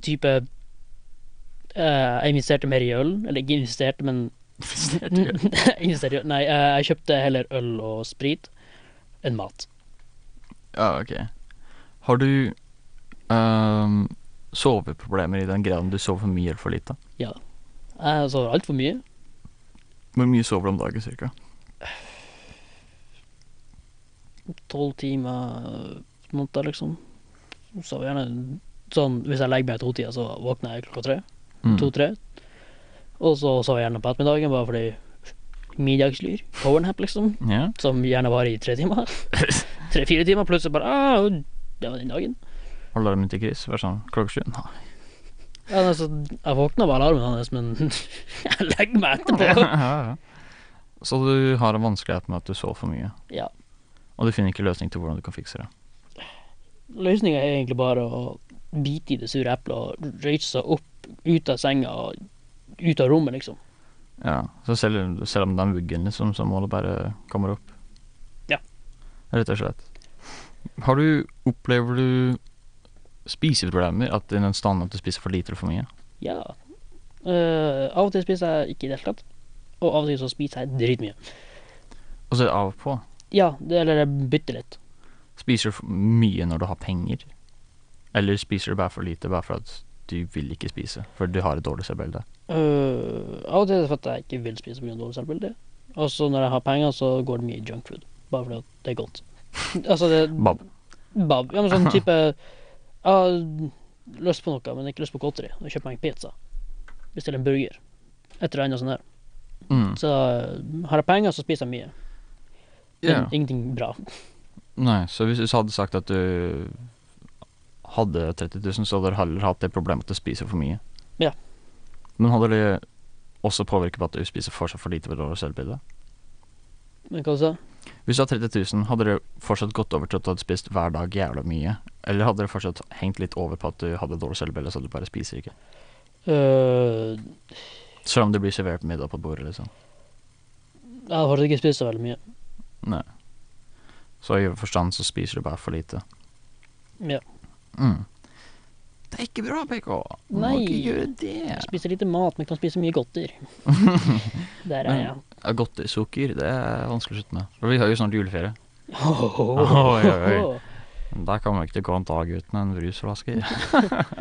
type eh, Jeg investerte mer i øl. Eller ikke investerte, men investerte i øl. Nei, eh, jeg kjøpte heller øl og sprit enn mat.
Ja, ok. Har du ehm, soveproblemer i den graden du sover for mye eller for lite?
Jeg sover altfor mye.
Hvor mye sover du om dagen, cirka?
Tolv timer i måneden, liksom. Sover gjerne sånn Hvis jeg legger meg i totida, så våkner jeg klokka tre.
Mm.
to-tre. Og så sover jeg gjerne på ettermiddagen, bare fordi middagslyr. Powernap, liksom.
Ja.
Som gjerne varer i tre timer. Tre-fire timer, plutselig bare ah, Det var den dagen.
Alarmen til Chris, vær sånn klokka sju? Nei.
Ja, altså, jeg våkna av alarmen hans, men jeg legger meg etterpå.
ja, ja. Så du har en vanskelighet med at du sover for mye?
Ja.
Og du finner ikke løsning til hvordan du kan fikse det?
Løsninga er egentlig bare å bite i det sure eplet og røyse seg opp ut av senga og ut av rommet, liksom.
Ja, Så selv, selv om det er muggen, liksom, så må det bare komme opp?
Ja.
Rett og slett. Har du Opplever du spiseproblemer? At det er en stand at du spiser for lite eller for mye?
Ja. Eh, av og til spiser jeg ikke i det hele tatt, og av og til så spiser jeg dritmye.
Og så er det av og på.
Ja, det, eller jeg bytter litt.
Spiser du for mye når du har penger? Eller spiser du bare for lite bare for at du vil ikke spise, for du har et dårlig selvbilde?
Øh, av og til er det for at jeg ikke vil spise pga. dårlig selvbilde. Og så når jeg har penger, så går det mye i junkfood. Bare fordi at det er godt. altså det
Bab.
Bab. Ja, men sånn type Jeg har lyst på noe, men ikke lyst på godteri. Da kjøper jeg meg en pizza. Bestiller en burger. Et eller annet sånt der.
Mm.
Så øh, har jeg penger, så spiser jeg mye. Men
Ja.
ingenting bra.
Nei, så hvis du hadde sagt at du hadde 30 000, så hadde du heller hatt det problemet at du spiser for mye?
Ja.
Men hadde det også påvirket på at du spiser fortsatt for lite for dårlig selvbilde?
Men hva du sa
Hvis du hadde 30 000, hadde det fortsatt gått over til at du hadde spist hver dag jævla mye? Eller hadde det fortsatt hengt litt over på at du hadde dårlig selvbilde, så du bare spiser ikke?
Øh,
Selv om det blir servert middag på bordet, liksom?
Jeg har faktisk ikke spist så veldig mye.
Nei. Så i forstand så spiser du bare for lite.
Ja.
Mm. Det er ikke bra, PK. Du må
Nei.
ikke gjøre det.
Jeg spiser lite mat, men kan spise mye godteri. Der er
Men-
jeg.
Ja, Godtisukker, det er vanskelig å slutte med. Og vi har jo snart juleferie.
Oi,
oi, oi. Der kan man ikke gå en dag uten en brusflaske.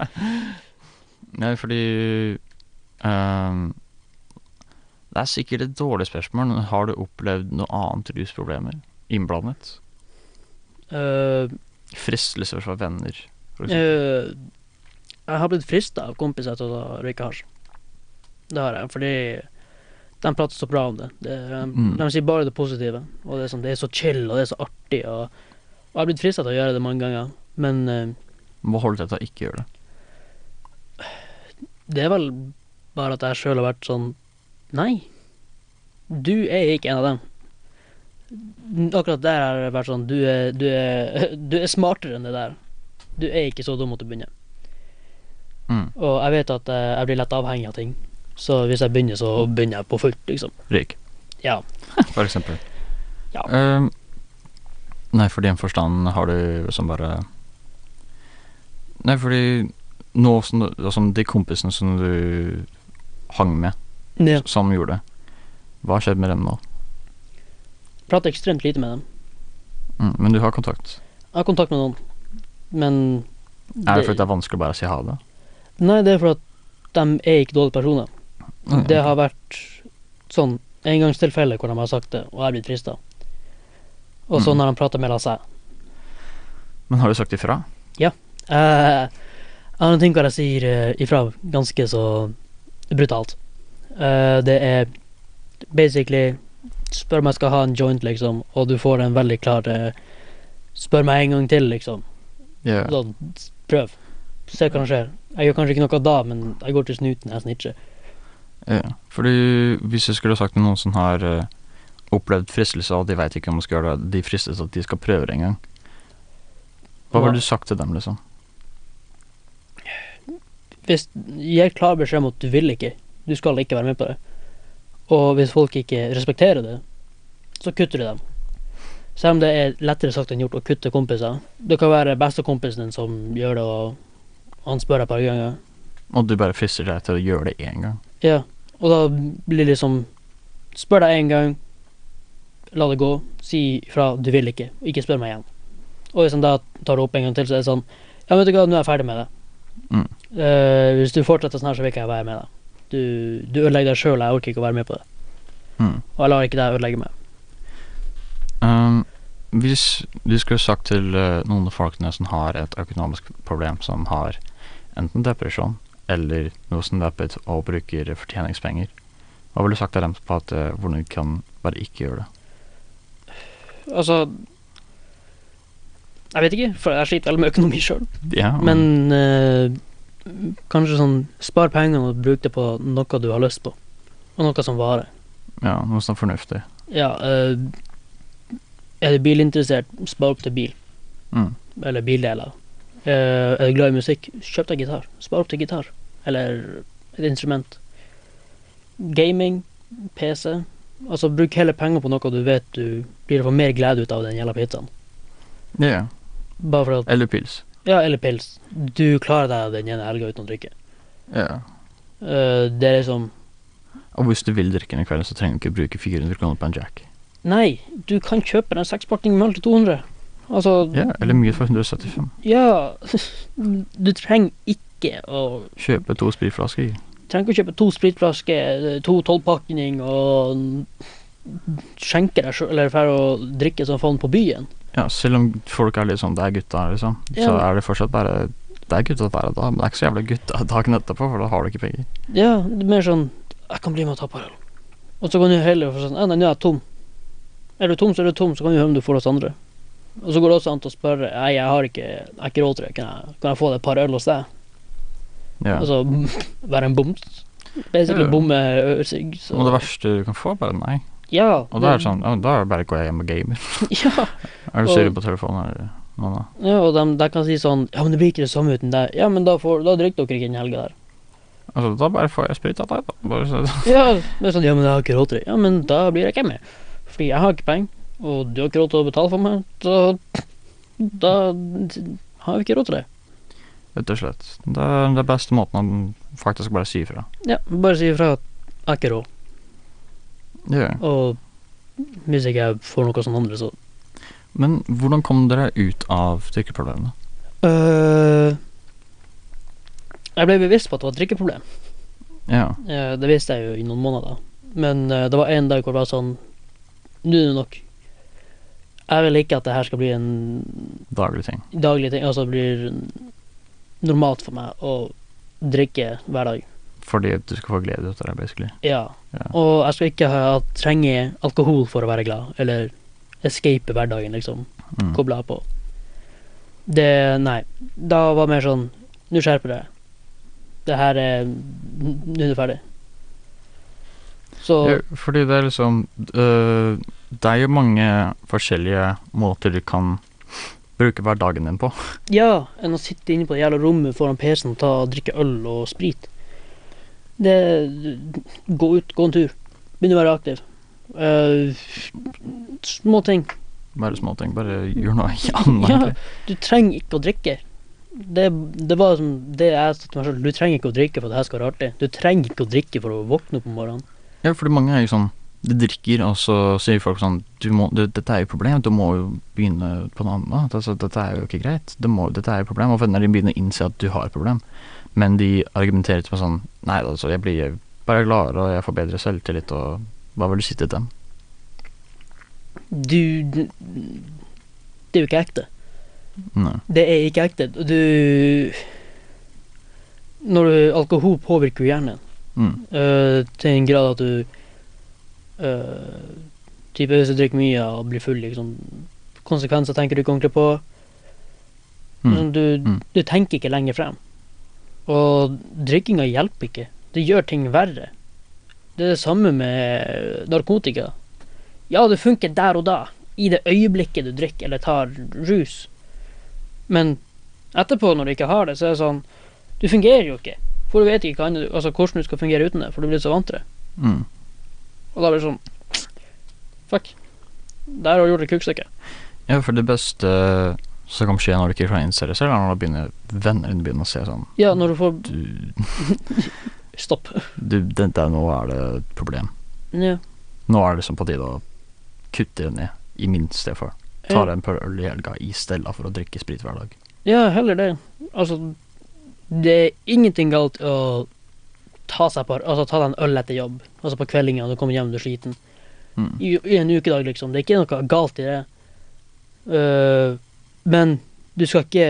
Nei, fordi ehm, Det er sikkert et dårlig spørsmål, men har du opplevd noe annet rusproblemer innblandet?
Øh,
Fristelser fra venner, for eksempel.
øh, jeg har blitt frista av kompiser til å røyke hasj. Det har jeg, fordi de prater så bra om det. det eh,
Mm.
De sier bare det positive. Og det er, sånn, det er så chill, og det er så artig. Og, og jeg har blitt frista til å gjøre det mange ganger. Men øh,
Må holde deg til å ikke gjøre det.
det er vel bare at jeg sjøl har vært sånn Nei, du er ikke en av dem. Akkurat der har jeg vært sånn Du er, du er, du er smartere enn det der. Du er ikke så dum at du begynner.
Mm.
Og jeg vet at eh, jeg blir lett avhengig av ting. Så hvis jeg begynner, så begynner jeg på fullt, liksom.
Røyk,
Ja.
for eksempel.
Ja.
Ehm, nei, for din forstand har du som bare Nei, fordi nå som du Altså, de kompisene som du hang med,
ja.
som gjorde det, hva har skjedd med dem nå?
Prater ekstremt lite med dem.
Mm, men du har kontakt.
Jeg har kontakt med noen, men
Er det fordi det er vanskelig å bare si ha det?
Nei, det er fordi at de er ikke dårlige personer.
Mm,
Det har vært sånn engangstilfelle hvor de har sagt det, og jeg blir frista. Og så
Mm.
når de prater mellom seg
Men har du sagt ifra?
Eh, Jeg har noen ting hvor jeg sier eh, ifra ganske så brutalt. Eh, det er basically Spør om jeg skal ha en joint, liksom, og du får en veldig klar eh, Spør meg en gang til, liksom.
Ja.
Sånn, s- prøv. Se hva som skjer. Jeg gjør kanskje ikke noe da, men jeg går til snuten, jeg snitcher.
Ja, fordi hvis jeg skulle sagt til noen som har eh, opplevd fristelse, og de veit ikke om de skal gjøre det, de fristes at de skal prøve det en gang. Hva
Hva?
ville du sagt til dem, liksom?
Hvis gir klar beskjed om at du vil ikke, du skal ikke være med på det, og hvis folk ikke respekterer det, så kutter du dem. Selv om det er lettere sagt enn gjort å kutte kompiser. Det kan være bestekompisen din som gjør det, og han spør deg et par ganger.
Og du bare frister deg til å gjøre det én gang.
Ja, og da blir det liksom Spør deg en gang, la det gå, si ifra du vil ikke, og ikke spør meg igjen. Og hvis han da tar det opp en gang til, så er det sånn Ja, vet du hva, nå er jeg ferdig med det.
Mm.
Eh, hvis du fortsetter sånn her, så vil ikke jeg være med deg. Du, du ødelegger deg sjøl, jeg orker ikke å være med på det.
Mm.
Og jeg lar ikke deg ødelegge meg.
Um, hvis du skulle sagt til eh, noen av folkene som har et økonomisk problem, som har enten depresjon eller noe som deppet og bruker fortjeningspenger, hva ville du sagt til dem på at eh, hvordan de kan bare ikke gjøre det?
Altså Jeg vet ikke, for jeg sliter veldig med økonomi sjøl.
Ja, og-
Men eh, kanskje sånn Spar pengene og bruk det på noe du har lyst på, og noe som varer.
ja, noe sånt fornuftig.
Ja, eh, er du bilinteressert, spar opp til bil,
Mm.
eller bildeler. Eh, er du glad i musikk, kjøp deg gitar. Spar opp til gitar, eller et instrument. Gaming, PC. Altså, bruk heller penger på noe du vet du blir å få mer glede ut av den gjelda pizzaen.
Ja, ja.
Bare for at
Eller pils.
Ja, eller pils. Du klarer deg den ene helga uten å drikke.
Ja.
Eh, det er liksom
Og hvis du vil drikke en kveld, så trenger du ikke bruke 400 kroner på en jack.
Nei, du kan kjøpe en sekspakning møll til 200. Altså
Ja, eller mye for 175.
Ja, du trenger ikke å
Kjøpe to spritflasker.
Trenger ikke å kjøpe to spritflasker, eh, to tolvpakning og skjenke deg sjøl, eller for å drikke som faen på byen.
Ja, selv om folk er litt sånn Det er gutta, liksom. Så
Ja.
er det fortsatt bare Det er gutta hver dag, men det er ikke så jævla gutta dagen etterpå, for da har du ikke penger.
Ja, det er mer sånn Jeg kan bli med og ta på øl. Og så kan du heller få sånn «Ah, Nei, nå er jeg tom. Er du tom, så er du tom, så kan du høre om du får oss andre. Og så går det også an til å spørre Nei, jeg har ikke Jeg har ikke råd til det. Kan jeg, kan jeg få et par øl hos deg?
Ja.
Og så være en boms. Basically
Ja, ja.
bomme ølsigg. så-
og det verste du kan få, er bare nei.
Ja.
Og da er det sånn ja, Da er det bare går jeg hjem og gamer.
Ja.
Er du
Og-
sur på telefonen eller noe annet?
Ja, og de, de kan si sånn Ja, men det blir ikke det samme uten deg. Ja, men da, får, da drikker dere ikke den helga der.
Altså, da bare får jeg sprit av deg, da. Bare så.
Ja, men sånn, ja, men jeg har ikke råd til det. Ja, men da blir jeg ikke med. Fordi jeg har ikke penger, og du har ikke råd til å betale for meg, så da har vi ikke råd til det.
Rett og slett. Det er den beste måten å faktisk bare si ifra.
Ja, bare si ifra at jeg har ikke råd,
Ja.
og hvis ikke jeg får noe sånn andre, så
Men hvordan kom dere ut av drikkeproblemene?
øh, Jeg ble bevisst på at det var et drikkeproblem.
Ja.
Eh, Det visste jeg jo i noen måneder, men eh, det var en dag hvor det var sånn Nå er det nok. Jeg vil ikke at det her skal bli en
Daglige ting.
daglig ting, altså det blir normalt for meg å drikke hver dag.
Fordi at du skal få glede ut av det, basically.
Ja.
Ja.
Og jeg skal ikke ha, trenge alkohol for å være glad, eller escape hverdagen, liksom.
Mm.
Kobla på. Det Nei. Da var det mer sånn Nå skjerper du deg. Det her er Nå er du ferdig. Så
Ja, fordi det er liksom øh, Det er jo mange forskjellige måter du kan bruke hverdagen din på.
Ja, enn å sitte inne på det jævla rommet foran PC-en og ta og drikke øl og sprit. Det Gå ut, gå en tur. Begynn å være aktiv. Eh, små ting.
Bare småting. Bare gjør noe annet.
Ja.
egentlig.
Du trenger ikke å drikke. Det, det var som det jeg sa til meg selv. Du trenger ikke å drikke for at det her skal være artig. Du trenger ikke å drikke for å våkne opp om morgenen.
Ja, fordi mange er jo sånn De drikker, og så sier folk sånn du må, du, 'Dette er jo et problem, du må jo begynne på noe annet.' Altså, 'Dette er jo ikke greit. Du må, dette er jo et problem.' Og venner dine begynner å innse at du har et problem, men de argumenterer etterpå sånn 'Nei, altså, jeg blir bare gladere, og jeg får bedre selvtillit', og hva vil du si til dem?
Du Det er jo ikke ekte.
Nei.
Det er ikke ekte. Du Når du Alkohol påvirker jo hjernen.
Mm.
Eh, til en grad at du eh, Type hvis du drikker mye og blir full, liksom Konsekvenser tenker du ikke ordentlig på.
Mm.
Sånn, Du,
Mm.
du tenker ikke lenger frem. Og drikkinga hjelper ikke. Det gjør ting verre. Det er det samme med narkotika. Ja, det funker der og da, i det øyeblikket du drikker eller tar rus. Men etterpå, når du ikke har det, så er det sånn Du fungerer jo ikke. For du vet ikke hva annet, du- altså, hvordan du skal fungere uten det, for du blir så vant til det.
Mm.
Og da blir det sånn Fuck. Der har du gjort et kukkstykke.
Ja, for det beste som kan skje når du ikke klarer å innse det selv, er når du begynner, vennene dine begynner å se sånn
Ja, når du får
Du,
Stopp.
du det, der, nå er det et problem.
Ja.
Nå er det liksom på tide å kutte det ned, i min sted for.
Eh.
Ta deg en par øl i helga i stedet for å drikke sprit hver dag.
Ja, heller det. Altså, det er ingenting galt å ta seg på, altså, ta deg en øl etter jobb. Altså på kveldinga når du kommer hjem, du er sliten.
Mm.
I, I en ukedag, liksom. Det er ikke noe galt i det. Eh, men du skal ikke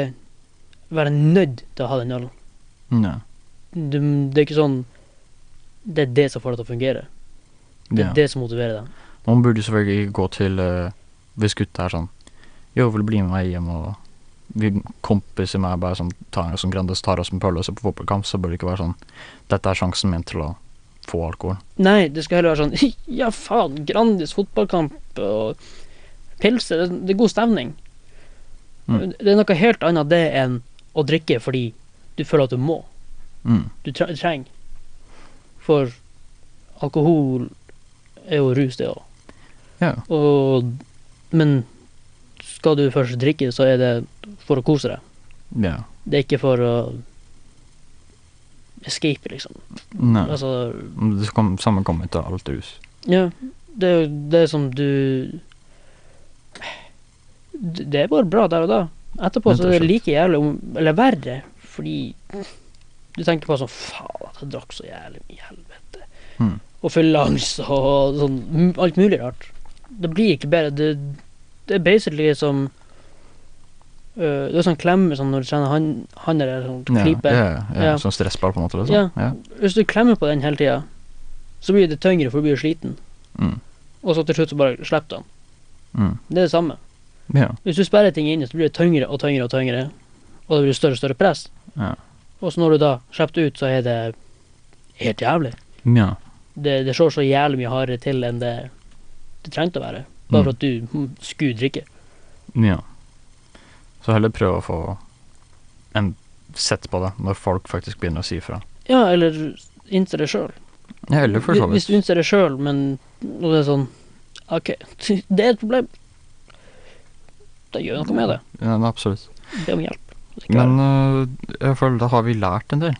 være nødt til å ha den ølen.
Mm, Ja.
Du, det er ikke sånn Det er det som får det til å fungere. Det er
Ja.
det som motiverer deg.
Man burde selvfølgelig ikke gå til eh, Hvis gutta er sånn Jo, vil du bli med meg hjem og vi kompiser meg bare sånn tar oss en Grandis, tar oss en pølse på fotballkamp, så bør det ikke være sånn Dette er sjansen min til å få alkohol.
Nei, det skal heller være sånn Ja, faen, Grandis fotballkamp og pilser. Det, det er god stemning.
Mm.
Det er noe helt annet det enn å drikke fordi du føler at du må.
Mm.
Du tre- trenger. For alkohol er jo rus, det òg.
Ja.
Og Men skal du først drikke, så er det for å kose deg.
Ja.
Det er ikke for å escape, liksom.
Nei.
Altså
Det kom, samme kommer til alt rus.
Ja, det er jo det som du D- Det er bare bra der og da. Etterpå
Rett
så
og
er det
slett.
like jævlig, om- eller verre, fordi du tenker på sånn Faen, jeg drakk så jævlig mye, i helvete.
Mm.
Og fyllangst og sånn m- alt mulig rart. Det blir ikke bedre. Det, det er basically som øh, Det er sånn klemme sånn når du trener han, han eller sånn
Ja,
klype.
ja, ja,
Ja.
Sånn stressball, på en måte? Liksom.
Ja.
Ja.
Hvis du klemmer på den hele tida, så blir det tyngre, for du blir jo sliten.
Mm.
Og så til slutt så bare slipper du den.
Mm.
Det er det samme.
ja.
Hvis du sperrer ting inne, så blir det tyngre og tyngre og tyngre. Og det blir større og større press.
Ja.
Og så når du da slipper det ut, så er det helt jævlig.
ja.
Det, det slår så jævlig mye hardere til enn det det trengte å være. Bare for
Mm.
at du mm, skulle drikke.
Ja. Så heller prøve å få en sett på det, når folk faktisk begynner å si ifra.
Ja, eller innse det sjøl.
Ja, eller for så
Hvis
vidt.
du innser det sjøl, men når det er sånn OK, det er et problem. Da gjør noe med det.
Ja, men absolutt.
Be om hjelp. Hvis ikke
Men øh, jeg føler da har vi lært en del.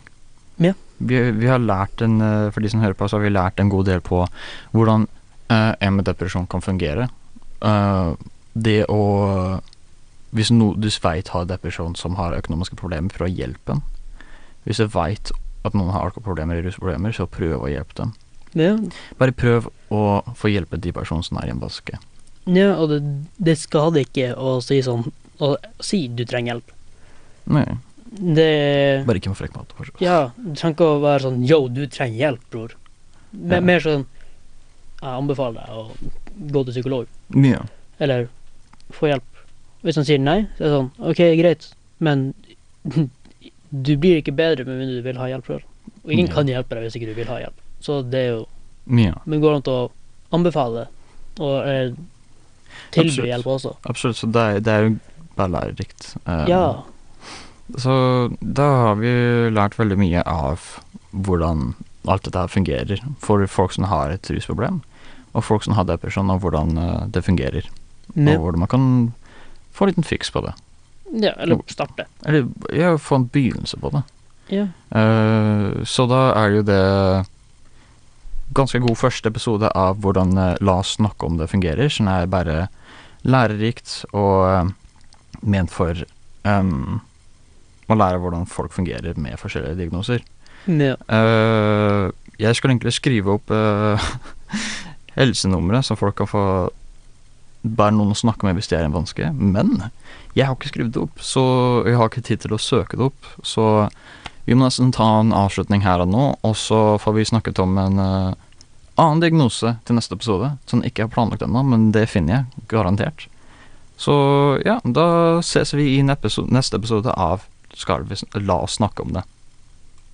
Ja.
Vi, vi har lært en, øh, for de som hører på, så har vi lært en god del på hvordan øh, en med depresjon kan fungere. Øh, det å Hvis no, du veit har depresjon som har økonomiske problemer, prøv å hjelpe den. Hvis du veit at noen har alkoholproblemer eller rusproblemer, så prøv å hjelpe dem.
Ja,
Bare prøv å få hjelpe de personene som er i en vaske.
ja og det, det skader ikke å si sånn Å si du trenger hjelp.
Nei,
Det
bare ikke med frekk mat. for så vidt.
Ja, du trenger ikke å være sånn Yo, du trenger hjelp, bror. Me-
Ja.
Mer sånn Jeg anbefaler deg å gå til psykolog,
Ja.
eller få hjelp. Hvis han sier nei, så er det sånn OK, greit, men du blir ikke bedre med mindre du vil ha hjelp sjøl. Og ingen
Ja.
kan hjelpe deg hvis ikke du vil ha hjelp. Så det er jo
ja.
Men går det an til å anbefale det, og eh, tilby
Absolutt.
hjelp også?
Absolutt, så det er, det er jo bare lærerikt. Eh,
Ja.
Så da har vi lært veldig mye av hvordan alt dette her fungerer for folk som har et rusproblem, og folk som har depresjon, og hvordan eh, det fungerer. Og
Men,
hvordan man kan få en liten fiks på det.
ja. Eller starte.
Eller ja, få en begynnelse på det.
Ja.
Eh, så da er jo det ganske god første episode av hvordan eh, La oss snakke om det fungerer, som er bare lærerikt og eh, ment for em, å lære hvordan folk fungerer med forskjellige diagnoser.
Men,
Eh, jeg skulle egentlig skrive opp uh, helsenumre, så folk kan få bare noen å snakke med hvis det er en vanske. Men jeg har ikke skrevet det opp, så jeg har ikke tid til å søke det opp. Så vi må nesten ta en avslutning her og nå, og så får vi snakket om en eh, annen diagnose til neste episode, som jeg ikke har planlagt ennå, men det finner jeg garantert. Så ja, da ses vi i en episo- neste episode av Skal vi sn La oss snakke om det.